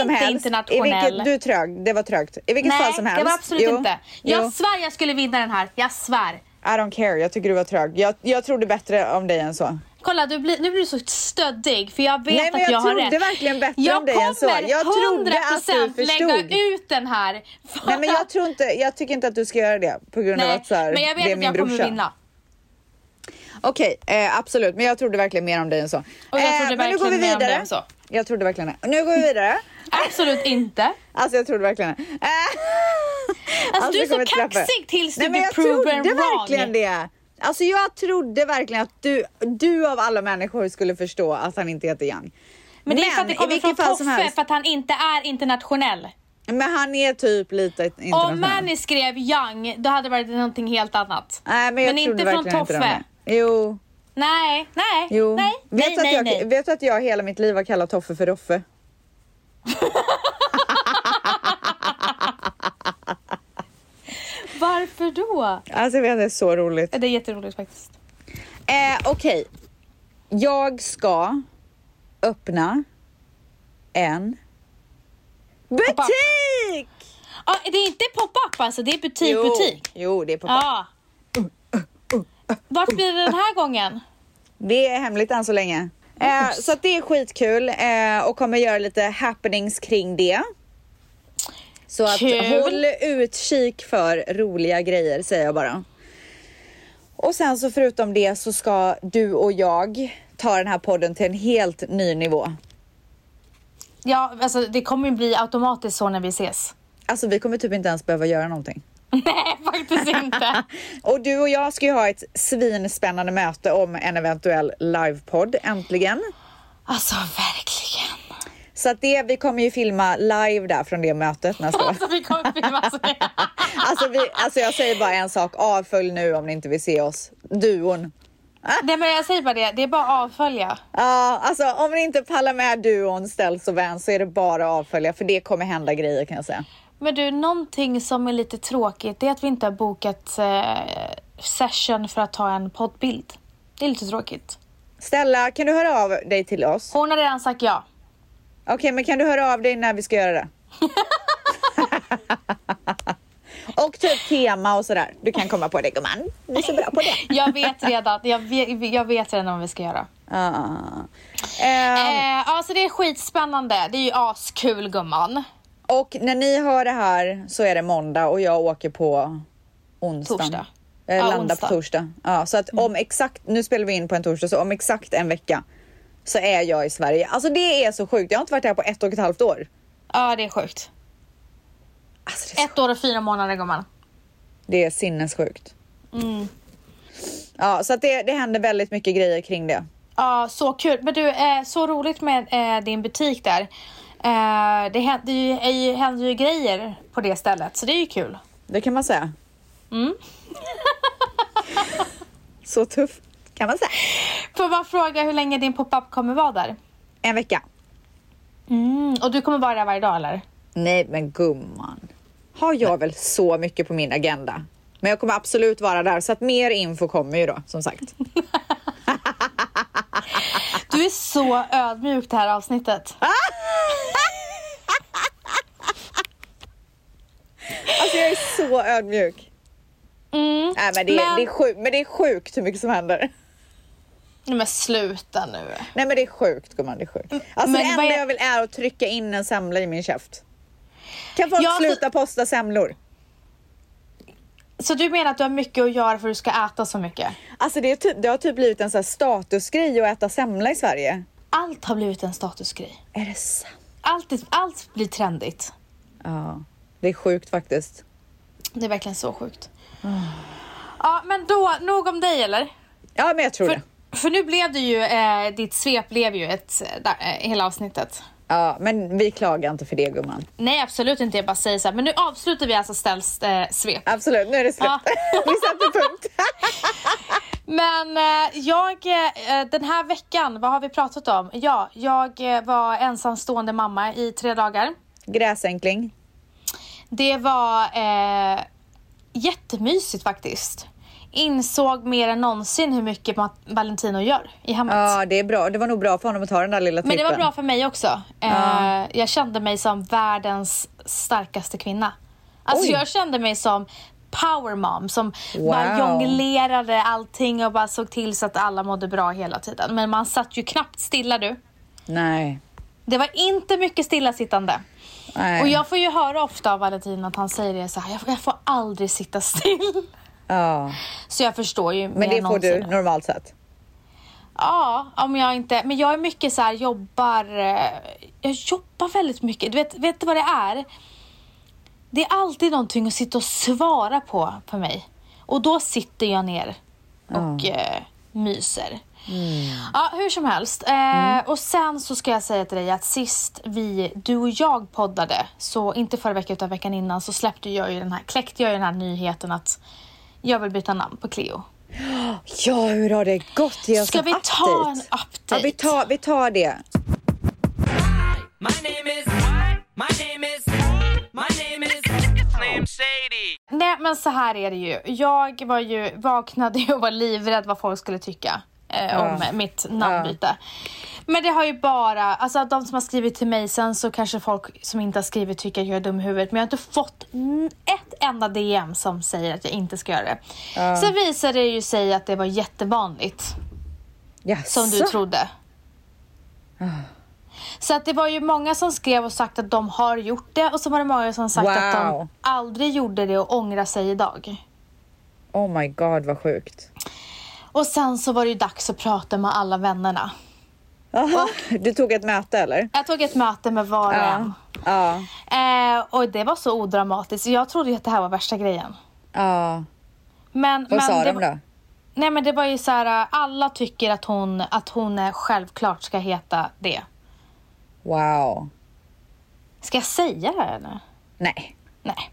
Speaker 1: inte internationell.
Speaker 2: I vilket, du är trög, det var trögt. I vilket
Speaker 1: Nej,
Speaker 2: fall som helst.
Speaker 1: det var absolut
Speaker 2: Jo,
Speaker 1: inte. Jag
Speaker 2: Jo.
Speaker 1: svär jag skulle vinna den här. Jag svär.
Speaker 2: I don't care, jag tycker du var trög. Jag, jag trodde bättre om dig än så.
Speaker 1: Kolla, du blir, nu blir du så stöddig för jag vet
Speaker 2: Nej, men
Speaker 1: att
Speaker 2: jag
Speaker 1: jag, har rätt.
Speaker 2: trodde verkligen bättre
Speaker 1: jag
Speaker 2: om dig än så. Jag trodde att du
Speaker 1: kommer 100%
Speaker 2: förstod.
Speaker 1: lägga ut den här. för
Speaker 2: Nej, men jag
Speaker 1: att-
Speaker 2: tror inte, jag tycker inte att du ska göra det på grund av
Speaker 1: Nej,
Speaker 2: att så här,
Speaker 1: men jag
Speaker 2: det
Speaker 1: vet
Speaker 2: är
Speaker 1: att
Speaker 2: min
Speaker 1: jag
Speaker 2: brorsa.
Speaker 1: kommer vinna.
Speaker 2: Okej, eh, absolut. Men jag trodde verkligen mer om dig än så. Eh,
Speaker 1: jag trodde
Speaker 2: men nu går vi
Speaker 1: verkligen mer om dig
Speaker 2: vidare.
Speaker 1: än så.
Speaker 2: Jag trodde verkligen det. Nu går vi vidare.
Speaker 1: Absolut inte.
Speaker 2: Alltså jag trodde verkligen det. Eh,
Speaker 1: Alltså, du är
Speaker 2: jag kommer
Speaker 1: så
Speaker 2: inte släppa det.
Speaker 1: kaxig tills du
Speaker 2: Nej, men
Speaker 1: blir
Speaker 2: jag
Speaker 1: proven
Speaker 2: trodde
Speaker 1: wrong.
Speaker 2: verkligen det. Alltså jag trodde verkligen att du, du av alla människor skulle förstå att han inte heter Young.
Speaker 1: Men det är för att
Speaker 2: i
Speaker 1: det kommer från
Speaker 2: vilket fall som
Speaker 1: Toffe
Speaker 2: helst.
Speaker 1: för att han inte är internationell.
Speaker 2: Men han är typ lite internationell.
Speaker 1: Om Manny skrev Young, då hade det varit någonting helt annat.
Speaker 2: Nej, men jag
Speaker 1: men
Speaker 2: trodde
Speaker 1: inte från
Speaker 2: verkligen
Speaker 1: Toffe.
Speaker 2: Inte de är. jo,
Speaker 1: Nej, nej,
Speaker 2: jo.
Speaker 1: nej,
Speaker 2: vet,
Speaker 1: nej,
Speaker 2: du att
Speaker 1: nej,
Speaker 2: jag,
Speaker 1: nej.
Speaker 2: vet du att jag hela mitt liv har kallat Toffe för Roffe?
Speaker 1: Varför då?
Speaker 2: Alltså jag vet, det är så roligt.
Speaker 1: Det är jätteroligt faktiskt.
Speaker 2: Eh, Okej. Jag ska öppna en butik!
Speaker 1: Ja, det är inte pop-up alltså, det är butik, butik.
Speaker 2: Jo, det är pappa.
Speaker 1: Ja. Vart blir det den här gången?
Speaker 2: Det är hemligt än så länge. Eh, så att det är skitkul eh, och kommer göra lite happenings kring det. Så att
Speaker 1: Kul.
Speaker 2: håll utkik för roliga grejer säger jag bara. Och sen så förutom det så ska du och jag ta den här podden till en helt ny nivå.
Speaker 1: Ja, alltså det kommer ju bli automatiskt så när vi ses.
Speaker 2: Alltså vi kommer typ inte ens behöva göra någonting.
Speaker 1: Nej, faktiskt inte.
Speaker 2: Och du och jag ska ju ha ett svinspännande möte om en eventuell livepodd äntligen.
Speaker 1: Alltså verkligen.
Speaker 2: Så att det, vi kommer ju filma live där från det mötet nästa år.
Speaker 1: Alltså vi kommer filma så
Speaker 2: Alltså, vi, alltså jag säger bara en sak, avfölj nu om ni inte vill se oss. Duon.
Speaker 1: Nej men jag säger bara det, det är bara att avfölja.
Speaker 2: Ja, alltså om ni inte pallar med duon ställs och vän så är det bara att avfölja för det kommer hända grejer kan jag säga.
Speaker 1: Men du, någonting som är lite tråkigt det är att vi inte har bokat eh, session för att ta en poddbild. Det är lite tråkigt.
Speaker 2: Stella, kan du höra av dig till oss?
Speaker 1: Hon har redan sagt ja.
Speaker 2: Okej, men kan du höra av dig när vi ska göra det? och typ tema och sådär. Du kan komma på det gumman. Du är så bra på det.
Speaker 1: Jag vet redan, jag vet, jag vet redan vad vi ska göra.
Speaker 2: Ja. Ehm,
Speaker 1: Eh, alltså det är skitspännande. Det är ju askul gumman.
Speaker 2: och när ni hör det här så är det måndag och jag åker på onsdag.
Speaker 1: Torsdag.
Speaker 2: Jag
Speaker 1: Ja,
Speaker 2: landar
Speaker 1: onsdag. Mm.
Speaker 2: på torsdag. Ja, så att om exakt, nu spelar vi in på en torsdag, så om exakt en vecka så är jag i Sverige. Alltså det är så sjukt. Jag har inte varit här på ett och ett halvt år.
Speaker 1: Ja det är sjukt.
Speaker 2: Alltså, det, är så,
Speaker 1: Ett år och fyra månader gumman.
Speaker 2: det är sinnessjukt.
Speaker 1: Mm.
Speaker 2: Ja, så att det, det händer väldigt mycket grejer kring det.
Speaker 1: Ja så kul. Men du, eh, så roligt med eh, din butik där. Eh, det händer ju, är ju, händer ju grejer på det stället så det är ju kul.
Speaker 2: Det kan man säga.
Speaker 1: Mm.
Speaker 2: så tufft kan man säga.
Speaker 1: Får man fråga hur länge din pop-up kommer vara där?
Speaker 2: En vecka.
Speaker 1: Mm, och du kommer vara där varje dag eller?
Speaker 2: Nej men gumman. Har jag väl så mycket på min agenda. Men jag kommer absolut vara där så att mer info kommer ju då som sagt.
Speaker 1: Du är så ödmjuk det här avsnittet.
Speaker 2: Alltså jag är så ödmjuk.
Speaker 1: Mm.
Speaker 2: Nej men det, är,
Speaker 1: Men-
Speaker 2: Det är sjukt, men det är sjukt hur mycket som händer.
Speaker 1: Nej, Men sluta nu.
Speaker 2: Nej men det är sjukt gumman, det är sjukt. Alltså
Speaker 1: men
Speaker 2: det enda
Speaker 1: vad är-
Speaker 2: jag vill är att trycka in en semla i min käft. Kan folk
Speaker 1: Ja, alltså-
Speaker 2: sluta posta semlor?
Speaker 1: Så du menar att du har mycket att göra för att du ska äta så mycket?
Speaker 2: Alltså det, är typ, det har typ blivit en sån här statusgrej att äta semla i Sverige.
Speaker 1: Allt har blivit en statusgrej.
Speaker 2: Är det sant?
Speaker 1: Allt, är- allt blir trendigt.
Speaker 2: Ja, det är sjukt faktiskt.
Speaker 1: Det är verkligen så sjukt. Ja, men då, nog om dig eller?
Speaker 2: Ja, men jag tror
Speaker 1: För,
Speaker 2: det.
Speaker 1: för nu blev det ju, eh, ditt svep blev ju ett, eh, där, eh, hela avsnittet.
Speaker 2: Ja, men vi klagar inte för det gumman.
Speaker 1: Nej, absolut inte. Jag bara säger så här. Men nu avslutar vi alltså Stells eh, svep.
Speaker 2: Absolut, nu är det slut.
Speaker 1: Ja.
Speaker 2: vi satte punkt.
Speaker 1: Men eh, jag, eh, den här veckan, vad har vi pratat om? Ja, jag eh, var ensamstående mamma i tre dagar.
Speaker 2: Gräsänkling.
Speaker 1: Det var eh, jättemysigt faktiskt. Insåg mer än någonsin hur mycket Ma- Valentino gör i hemmet.
Speaker 2: Ja, det är bra. Det var nog bra för honom att ta den där lilla
Speaker 1: Men
Speaker 2: trippen.
Speaker 1: det var bra för mig också. Eh, Jag kände mig som världens starkaste kvinna. Alltså
Speaker 2: Oj.
Speaker 1: jag kände mig som power mom som bara
Speaker 2: Wow.
Speaker 1: jonglerade allting och bara såg till så att alla mådde bra hela tiden. Men man satt ju knappt stilla du.
Speaker 2: Nej.
Speaker 1: Det var inte mycket stillasittande.
Speaker 2: Nej.
Speaker 1: Och jag får ju höra ofta av Valentin att han säger det så här, jag, jag får aldrig sitta still.
Speaker 2: Ja.
Speaker 1: Så jag förstår ju mer
Speaker 2: Men det
Speaker 1: än
Speaker 2: får du
Speaker 1: någonsin.
Speaker 2: normalt sett.
Speaker 1: Ja, om jag inte... Men jag är mycket så här, jobbar... eh, Jag jobbar väldigt mycket. Du vet, vet du vad det är? Det är alltid någonting att sitta och svara på för mig. Och då sitter jag ner och eh, myser.
Speaker 2: Mm.
Speaker 1: Ja, hur som helst. Eh, Och sen så ska jag säga till dig att sist vi, du och jag poddade, så inte förra veckan utan veckan innan, så släppte jag ju den här, kläckte jag ju den här nyheten att jag vill byta namn på Cleo.
Speaker 2: Ja, hur har det gått? Ge oss
Speaker 1: Ska
Speaker 2: en
Speaker 1: vi
Speaker 2: update.
Speaker 1: ta en update?
Speaker 2: Ja, vi tar, vi tar det.
Speaker 4: My name is. My name is. My name is. Name Shady.
Speaker 1: Nej men så här är det ju. Jag var ju, vaknade ju och var livrädd vad folk skulle tycka eh, om mitt namnbyte. Men det har ju bara, alltså de som har skrivit till mig sen så kanske folk som inte har skrivit tycker att jag är dum i huvudet. Men jag har inte fått n- ett enda DM som säger att jag inte ska göra det. Sen visade det ju sig att det var jättevanligt
Speaker 2: Yes.
Speaker 1: som du trodde. Så att det var ju många som skrev och sagt att de har gjort det och så var det många som sagt att de
Speaker 2: Wow.
Speaker 1: aldrig gjorde det och ångrar sig idag.
Speaker 2: Oh my god, vad sjukt.
Speaker 1: Och sen så var det ju dags att prata med alla vännerna.
Speaker 2: Aha. Du tog ett möte eller?
Speaker 1: Jag tog ett möte med var och en.
Speaker 2: Ja.
Speaker 1: Eh, och det var så odramatiskt. Jag trodde ju att det här var värsta grejen.
Speaker 2: ja.
Speaker 1: Men,
Speaker 2: Vad
Speaker 1: men
Speaker 2: sa
Speaker 1: det
Speaker 2: de
Speaker 1: var-
Speaker 2: då?
Speaker 1: Nej men det var ju så här, eh, alla tycker att hon, att hon eh, självklart ska heta det.
Speaker 2: Wow.
Speaker 1: Ska jag säga det här nu?
Speaker 2: Nej.
Speaker 1: Nej.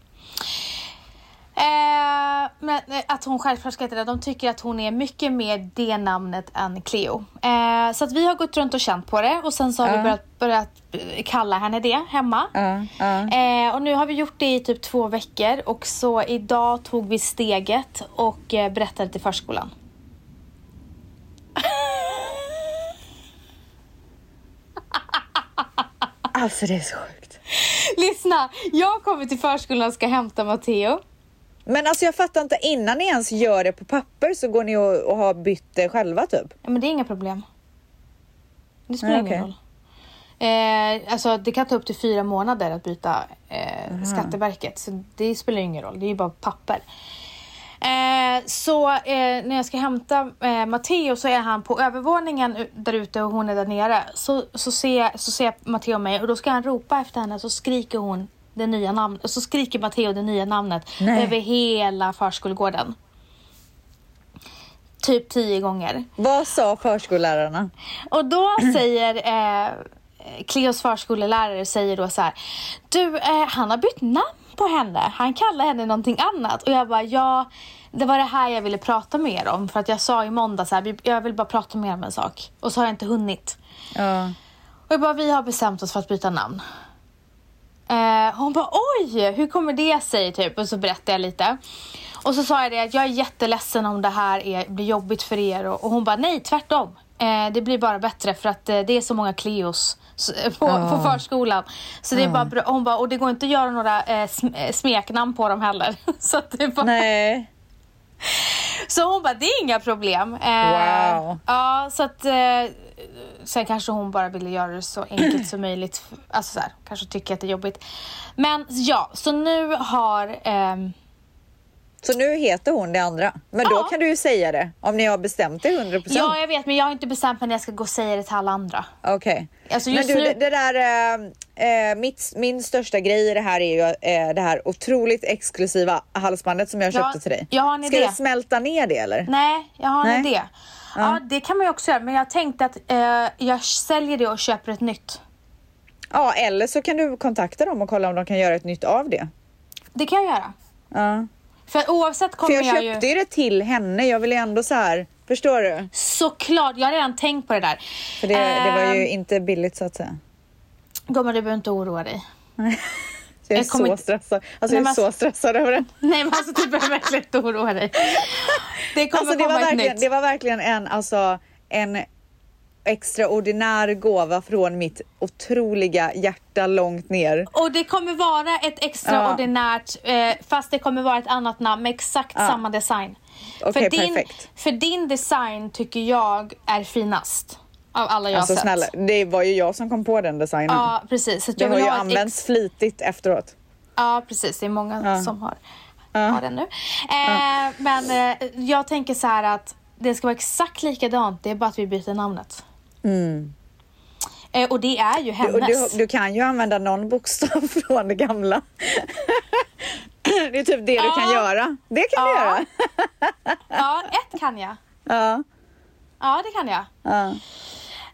Speaker 1: Eh, men eh, att hon självklart ska heta det. De tycker att hon är mycket mer det namnet än Cleo. Eh, så att vi har gått runt och känt på det och sen så har vi börjat, börjat eh, kalla henne det hemma.
Speaker 2: Ja. ja.
Speaker 1: Eh, och nu har vi gjort det i typ två veckor och så idag tog vi steget och eh, berättade till förskolan.
Speaker 2: Alltså det är så sjukt.
Speaker 1: Lyssna, jag kommer till förskolan och ska hämta Matteo.
Speaker 2: Men alltså jag fattar inte, innan ni ens gör det på papper så går ni och, och har bytt det själva typ?
Speaker 1: Ja, men det är inga problem. Det spelar
Speaker 2: Nej,
Speaker 1: ingen
Speaker 2: okej.
Speaker 1: roll. Eh, alltså det kan ta upp till fyra månader att byta eh, Skatteverket. Så det spelar ingen roll, det är ju bara papper. Eh, så eh, när jag ska hämta eh, Matteo så är han på övervåningen u- där ute och hon är där nere. Så, så, ser, så ser Matteo mig och då ska han ropa efter henne så skriker hon det nya namnet. Och så skriker Matteo det nya namnet
Speaker 2: Nej.
Speaker 1: över hela förskolegården. Typ tio gånger.
Speaker 2: Vad sa förskollärarna?
Speaker 1: Och då säger eh, Cleos förskolelärare säger då så här. Du, eh, han har bytt namn på henne. Han kallar henne någonting annat. Och jag bara, ja, det var det här jag ville prata med er om. För att jag sa i måndag så här, "Vi- jag vill bara prata med er om en sak. Och så har jag inte hunnit.
Speaker 2: Ja.
Speaker 1: Och jag bara, vi har bestämt oss för att byta namn. Eh, hon bara, oj, hur kommer det sig? Typ. Och så berättade jag lite. Och så sa jag det att jag är jätteledsen om det här är, blir jobbigt för er. Och, och hon bara, nej tvärtom. Eh, det blir bara bättre för att eh, det är så många Cleos s- eh, på, på förskolan. Så det är bara bra. Hon bara, och det går inte att göra några eh, sm- eh, smeknamn på dem heller. så, att det är bara,
Speaker 2: Nej.
Speaker 1: så hon bara, det är inga problem. Eh,
Speaker 2: Wow.
Speaker 1: Ja, så att... Eh, sen kanske hon bara ville göra det så enkelt som möjligt. Alltså så här, kanske tycker att det är jobbigt. Men ja, så nu har... ehm,
Speaker 2: Så nu heter hon det andra. Men då
Speaker 1: Ja.
Speaker 2: kan du ju säga det om ni har bestämt det 100%.
Speaker 1: ja, jag vet, men jag har inte bestämt mig när jag ska gå och säga det till alla andra.
Speaker 2: Okej.
Speaker 1: Alltså,
Speaker 2: Men
Speaker 1: just
Speaker 2: du,
Speaker 1: nu-
Speaker 2: det, det där, eh, eh, mitt, min största grej i det här är ju eh, det här otroligt exklusiva halsbandet som jag
Speaker 1: Ja,
Speaker 2: köpte till dig.
Speaker 1: jag har en
Speaker 2: Ska
Speaker 1: idé.
Speaker 2: jag smälta ner det eller?
Speaker 1: Nej, jag har en
Speaker 2: Nej.
Speaker 1: idé. Ja. det kan man ju också göra. Men jag tänkte att eh, jag säljer det och köper ett nytt.
Speaker 2: Ja, eller så kan du kontakta dem och kolla om de kan göra ett nytt av det.
Speaker 1: Det kan jag göra.
Speaker 2: Ja.
Speaker 1: För oavsett
Speaker 2: För
Speaker 1: kommer
Speaker 2: jag
Speaker 1: jag, ju...
Speaker 2: köpte ju det till henne. Jag ville ju ändå så här, förstår du?
Speaker 1: Såklart, jag har redan tänkt på det där.
Speaker 2: För det, det var
Speaker 1: Ehm,
Speaker 2: ju inte billigt så att säga.
Speaker 1: Gumman, du behöver inte oroa dig.
Speaker 2: Så jag är
Speaker 1: Jag kommer
Speaker 2: så
Speaker 1: inte-
Speaker 2: stressad. Alltså jag
Speaker 1: Nej,
Speaker 2: är
Speaker 1: men
Speaker 2: så stressad över den.
Speaker 1: Nej men alltså du behöver verkligen inte oroa dig. Det kommer
Speaker 2: Alltså det var
Speaker 1: komma ett
Speaker 2: verkligen,
Speaker 1: nytt.
Speaker 2: det var verkligen en, alltså, en extraordinär gåva från mitt otroliga hjärta långt ner.
Speaker 1: Och det kommer vara ett extraordinärt, eh, fast det kommer vara ett annat namn med exakt samma design.
Speaker 2: Ah. Okej,
Speaker 1: för, din,
Speaker 2: perfekt.
Speaker 1: för din design tycker jag är finast av alla jag
Speaker 2: Alltså
Speaker 1: har sett.
Speaker 2: snälla, det var ju jag som kom på den designen.
Speaker 1: Ja, precis. Så att
Speaker 2: det
Speaker 1: jag
Speaker 2: har
Speaker 1: vill
Speaker 2: ju
Speaker 1: ha ett ex-
Speaker 2: använts Ah. flitigt efteråt.
Speaker 1: Ja, precis. Det är många
Speaker 2: Ja.
Speaker 1: som har,
Speaker 2: Ah.
Speaker 1: har den nu. Eh, Men eh, jag tänker så här att det ska vara exakt likadant, det är bara att vi byter namnet. Eh, Och det är ju
Speaker 2: Mm. Och
Speaker 1: hennes.
Speaker 2: du, du kan ju använda någon bokstav från det gamla. det är typ det du kan
Speaker 1: Ja.
Speaker 2: göra. Det kan du
Speaker 1: Ja.
Speaker 2: göra.
Speaker 1: Ja, ett kan jag.
Speaker 2: Ja.
Speaker 1: Ja, det kan jag.
Speaker 2: Ja.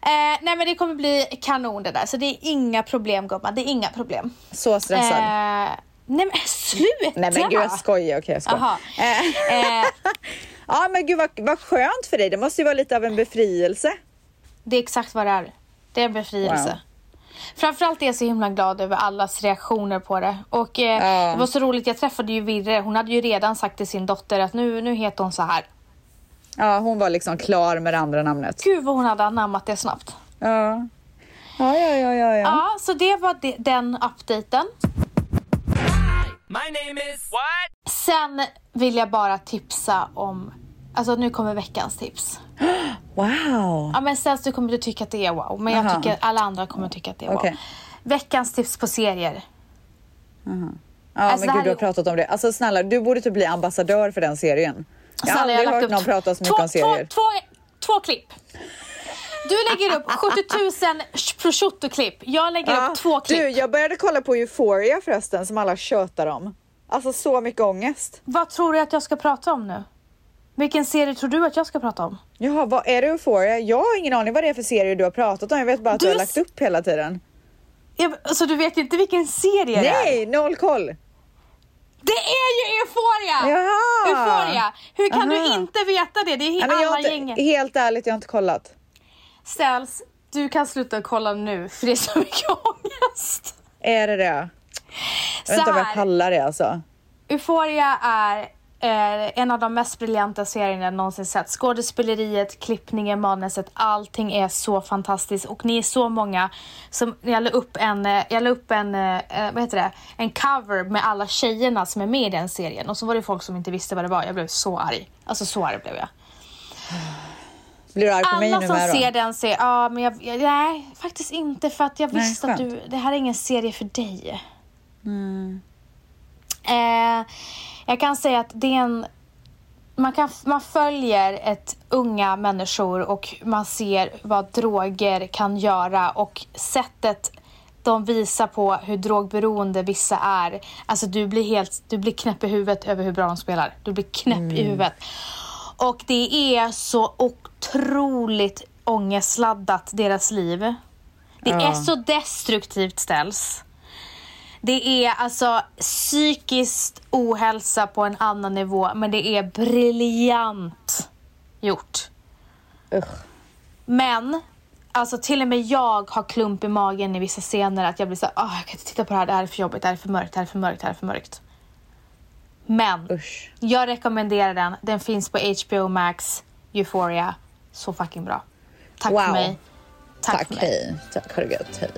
Speaker 1: Eh, nej men det kommer bli kanon det där, så det är inga problem gumman. Det är inga problem.
Speaker 2: Så stressad.
Speaker 1: Eh, nej men sluta!
Speaker 2: Nej men gud jag skojar, okej jag skojar.
Speaker 1: Jaha. Eh,
Speaker 2: Ja men gud vad, vad skönt för dig, det måste ju vara lite av en befrielse.
Speaker 1: Det är exakt vad det är. Det är en befrielse. Framförallt är jag så himla glad över allas reaktioner på det. Och eh,
Speaker 2: Ja.
Speaker 1: det var så roligt, jag träffade ju Virre. Hon hade ju redan sagt till sin dotter att nu, nu heter hon så här.
Speaker 2: Ja hon var liksom klar med det andra namnet.
Speaker 1: Gud vad hon hade anammat det snabbt.
Speaker 2: Ja. Ja, ja, ja, ja, ja.
Speaker 1: Ja, så det var de, den updaten.
Speaker 4: My name is what?
Speaker 1: Sen vill jag bara tipsa om, alltså nu kommer veckans tips.
Speaker 2: Wow!
Speaker 1: Ja men sen så kommer du tycka att det är wow, men
Speaker 2: Aha.
Speaker 1: jag tycker alla andra kommer tycka att det är wow.
Speaker 2: Okej.
Speaker 1: Veckans tips på serier.
Speaker 2: Ja,
Speaker 1: Alltså, det
Speaker 2: men
Speaker 1: här
Speaker 2: gud, du har
Speaker 1: är-
Speaker 2: pratat om det. Alltså snälla, du borde typ bli ambassadör för den serien. Jag har
Speaker 1: Sanna,
Speaker 2: aldrig
Speaker 1: lagt
Speaker 2: hört
Speaker 1: upp
Speaker 2: någon
Speaker 1: tw-
Speaker 2: prata så mycket
Speaker 1: två,
Speaker 2: om serier.
Speaker 1: Två, två, två klipp. Du lägger upp 70 000 prosciutto-klipp. Jag lägger
Speaker 2: Ja.
Speaker 1: upp två klipp.
Speaker 2: Du, jag började kolla på Euphoria förresten, som alla tjötar om. Alltså så mycket ångest.
Speaker 1: Vad tror du att jag ska prata om nu? Vilken serie tror du att jag ska prata om?
Speaker 2: Jaha, vad är det Euphoria? Jag har ingen aning vad det är för serie du har pratat om. Jag vet bara att du,
Speaker 1: Du
Speaker 2: har
Speaker 1: är
Speaker 2: lagt
Speaker 1: s-
Speaker 2: upp hela tiden.
Speaker 1: Jag, alltså du vet inte vilken serie det är?
Speaker 2: Nej, noll koll.
Speaker 1: Det är ju Euphoria!
Speaker 2: Jaha.
Speaker 1: Euphoria! Hur kan
Speaker 2: Aha.
Speaker 1: du inte veta det? Det är he-
Speaker 2: Nej, men jag har
Speaker 1: alla
Speaker 2: inte,
Speaker 1: gänget.
Speaker 2: Helt ärligt, jag har inte kollat.
Speaker 1: Ställs, du kan sluta kolla nu för det är så mycket ångest.
Speaker 2: Är det det? Jag
Speaker 1: Så
Speaker 2: vet inte om jag
Speaker 1: här.
Speaker 2: pallar det alltså.
Speaker 1: Euphoria är eh, en av de mest briljanta serierna jag någonsin sett. Skådespeleriet, klippningen, manuset, allting är så fantastiskt. Och ni är så många som, jag la upp en, eh, jag la upp en, eh, eh, vad heter det, en cover med alla tjejerna som är med i den serien. Och så var det folk som inte visste vad det var. Jag blev så arg. Alltså så arg blev jag.
Speaker 2: Blir du arg på mig
Speaker 1: Alla
Speaker 2: nu
Speaker 1: som
Speaker 2: med då?
Speaker 1: ser den ser, ja men jag, jag, nej faktiskt inte för att jag
Speaker 2: Nej,
Speaker 1: visste att
Speaker 2: skönt. Mm.
Speaker 1: du, det här är ingen serie för dig. Eh, jag kan säga att det är en, man, kan, man följer ett unga människor och man ser vad droger kan göra och sättet de visar på hur drogberoende vissa är. Alltså du blir helt, du blir knäpp i huvudet över hur bra de spelar. Du blir knäpp i
Speaker 2: Mm.
Speaker 1: huvudet. Och det är så otroligt ångestladdat, deras liv. Det är så destruktivt ställs. Det är alltså psykiskt ohälsa på en annan nivå, men det är briljant gjort.
Speaker 2: Usch.
Speaker 1: Men, alltså till och med jag har klump i magen i vissa scener att jag blir så här, "Ah, jag kan inte titta på det här, det här är för jobbigt, det här är för mörkt, det här är för mörkt, det här är för mörkt. Men,
Speaker 2: Usch.
Speaker 1: jag rekommenderar den. Den finns på HBO Max, Euphoria. Så fucking bra. Tack
Speaker 2: Wow.
Speaker 1: för mig. Tack,
Speaker 2: Tack,
Speaker 1: för mig.
Speaker 2: hej. Tack, ha det gött, hej.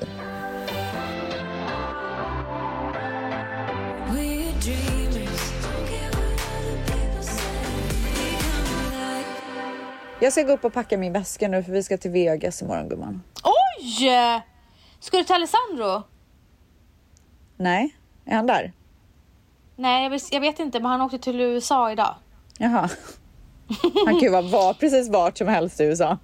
Speaker 5: We're dreamers. Don't care what other people say. We come alive.
Speaker 2: Jag ska gå upp och packa min väska nu för vi ska till Vegas imorgon gumman.
Speaker 1: Oj! Ska du till Alessandro?
Speaker 2: Nej, är han där?
Speaker 1: Nej, jag vet, jag vet inte, men han åkte till USA idag.
Speaker 2: Jaha. Han kan ju vara var, precis vart som helst i USA.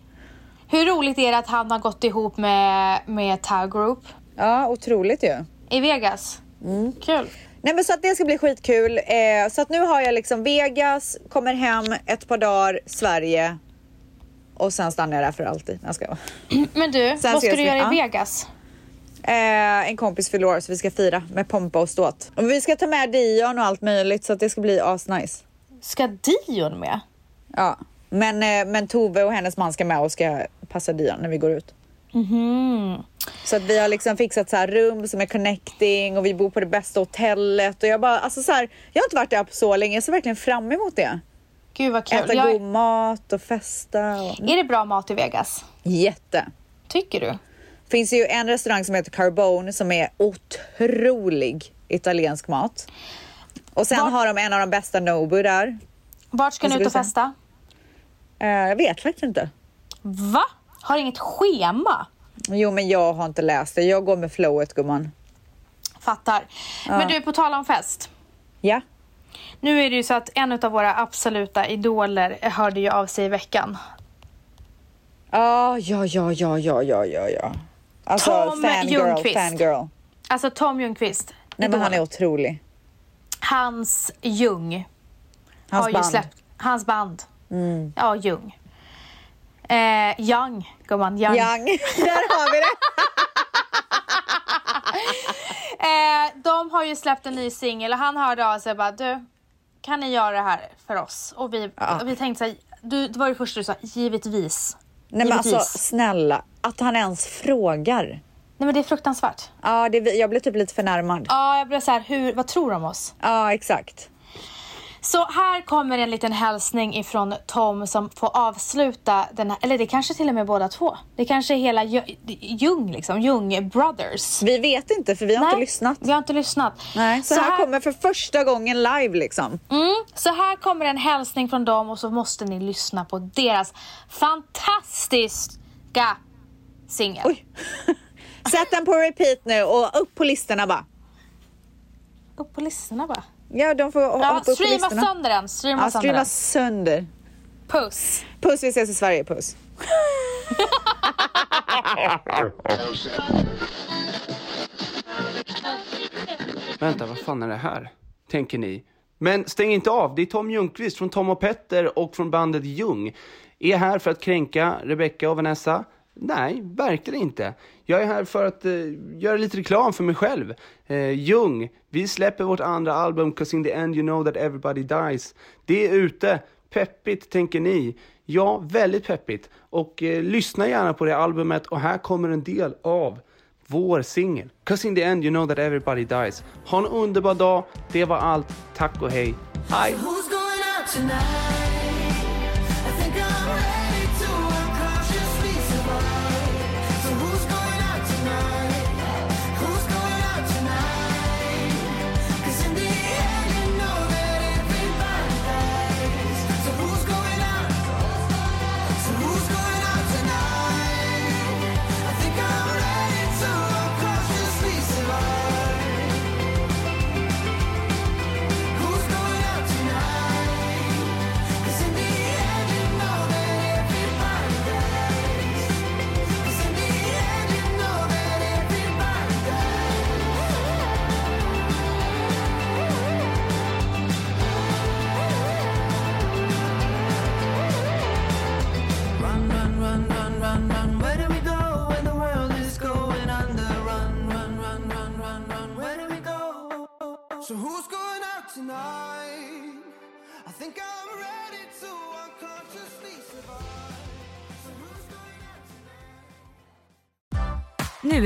Speaker 1: Hur roligt är det att han har gått ihop med, med Tau Group
Speaker 2: Ja, otroligt ju.
Speaker 1: i Vegas?
Speaker 2: Mm.
Speaker 1: Kul.
Speaker 2: Nej men så att det ska bli skitkul. Eh, så att nu har jag liksom Vegas, kommer hem ett par dagar, Sverige och sen stannar jag där för alltid. Jag ska.
Speaker 1: Men du, vad ska
Speaker 2: ses
Speaker 1: du
Speaker 2: vi.
Speaker 1: göra i
Speaker 2: Ja.
Speaker 1: Vegas?
Speaker 2: Eh, en kompis fyller år så vi ska fira med pompa och ståt. Och vi ska ta med Dion och allt möjligt så att det ska bli asnice.
Speaker 1: Ska Dion med?
Speaker 2: Ja. Men, eh, men Tove och hennes man ska med och ska passa Dion när vi går ut.
Speaker 1: Mm.
Speaker 2: Så att vi har liksom fixat så här rum som är connecting och vi bor på det bästa hotellet och jag bara, alltså så här, jag har inte varit där på så länge, jag ser verkligen fram emot det.
Speaker 1: Gud vad kul.
Speaker 2: Äta
Speaker 1: Jag,
Speaker 2: god mat och festa och...
Speaker 1: är det bra mat i Vegas?
Speaker 2: Jätte!
Speaker 1: Tycker du?
Speaker 2: Finns ju en restaurang som heter Carbone som är otrolig italiensk mat. Och sen
Speaker 1: Var-
Speaker 2: har de en av de bästa Nobu där.
Speaker 1: Vart ska
Speaker 2: Jag
Speaker 1: ni
Speaker 2: skulle
Speaker 1: ut och
Speaker 2: säga-
Speaker 1: festa?
Speaker 2: Eh, jag vet faktiskt inte.
Speaker 1: Va? Har inget schema?
Speaker 2: Jo, men jag har inte läst det. Jag går med flowet gumman.
Speaker 1: Fattar. Men du, på tal om fest.
Speaker 2: Ja.
Speaker 1: Nu är det ju så att en av våra absoluta idoler hörde ju av sig i veckan.
Speaker 2: Ah, ja, ja, ja, ja, ja, ja, ja. Alltså,
Speaker 1: Tom
Speaker 2: fangirl,
Speaker 1: Ljungqvist.
Speaker 2: fangirl.
Speaker 1: Alltså Tom Ljungqvist.
Speaker 2: Nej, men han är
Speaker 1: idolen.
Speaker 2: otrolig.
Speaker 1: Hans Ljung.
Speaker 2: Hans
Speaker 1: har ju
Speaker 2: band.
Speaker 1: släppt hans band. Ja, Ljung. Eh, Young, gumman. Young.
Speaker 2: Young. där har vi det.
Speaker 1: Eh, de har ju släppt en ny singel och han hörde av sig och bara du, kan ni göra det här för oss? Och vi, och vi tänkte så här, du, det var det första du sa, givetvis.
Speaker 2: Nej, men alltså
Speaker 1: Givetvis.
Speaker 2: snälla, att han ens frågar.
Speaker 1: Nej men det är fruktansvärt. Ja,
Speaker 2: Ja, det, jag blev typ lite förnärmad. Ja,
Speaker 1: jag blev så här, hur, vad tror de om oss?
Speaker 2: exakt.
Speaker 1: Så här kommer en liten hälsning ifrån Tom som får avsluta den här, eller det kanske till och med båda två. Det kanske är hela Ju- Ljung liksom, Ljung Brothers.
Speaker 2: Vi vet inte, för vi har inte lyssnat.
Speaker 1: Vi har inte lyssnat.
Speaker 2: Nej, så, här kommer för första gången live liksom.
Speaker 1: Mm, så här kommer en hälsning från dem och så måste ni lyssna på deras fantastiska singel.
Speaker 2: Oj. Sätt den på repeat nu och upp på listorna bara.
Speaker 1: Upp och lyssna bara.
Speaker 2: Ja, de får hoppa
Speaker 1: Ja,
Speaker 2: upp på
Speaker 1: streama
Speaker 2: listorna.
Speaker 1: sönder den. Streama
Speaker 2: Ja,
Speaker 1: sönder den.
Speaker 2: streama sönder.
Speaker 1: Puss.
Speaker 2: Puss, vi ses i Sverige. Puss.
Speaker 6: Vänta, vad fan är det här? Tänker ni. Men stäng inte av, det är Tom Ljungqvist från Tom och Petter och från bandet Ljung. Är här för att kränka Rebecca och Vanessa? Nej, verkligen inte. Jag är här för att eh, göra lite reklam för mig själv. Eh, Ljung, vi släpper vårt andra album 'Cause in the end you know that everybody dies. Det är ute, peppigt tänker ni. Ja, väldigt peppigt. Och eh, lyssna gärna på det albumet och här kommer en del av vår singel. 'Cause in the end you know that everybody dies. Ha en underbar dag. Det var allt. Tack och hej. Hej!
Speaker 5: Who's going out tonight? I think I'm ready to unconsciously survive. So who's going out tonight? Who's going out tonight? 'Cause in the end, you know that everybody dies. So who's going out? So who's going out tonight? I think I'm ready to unconsciously survive. Who's going out tonight? 'Cause in the end, you know that everybody dies. 'Cause in the end, you know that everybody dies. Run, run, run, run, run, run. Where do we go when the world is going under? Run, run, run, run, run, run. Where do we go? So who's going out tonight? I think I'm ready to unconsciously survive. So who's going out tonight?
Speaker 3: Nu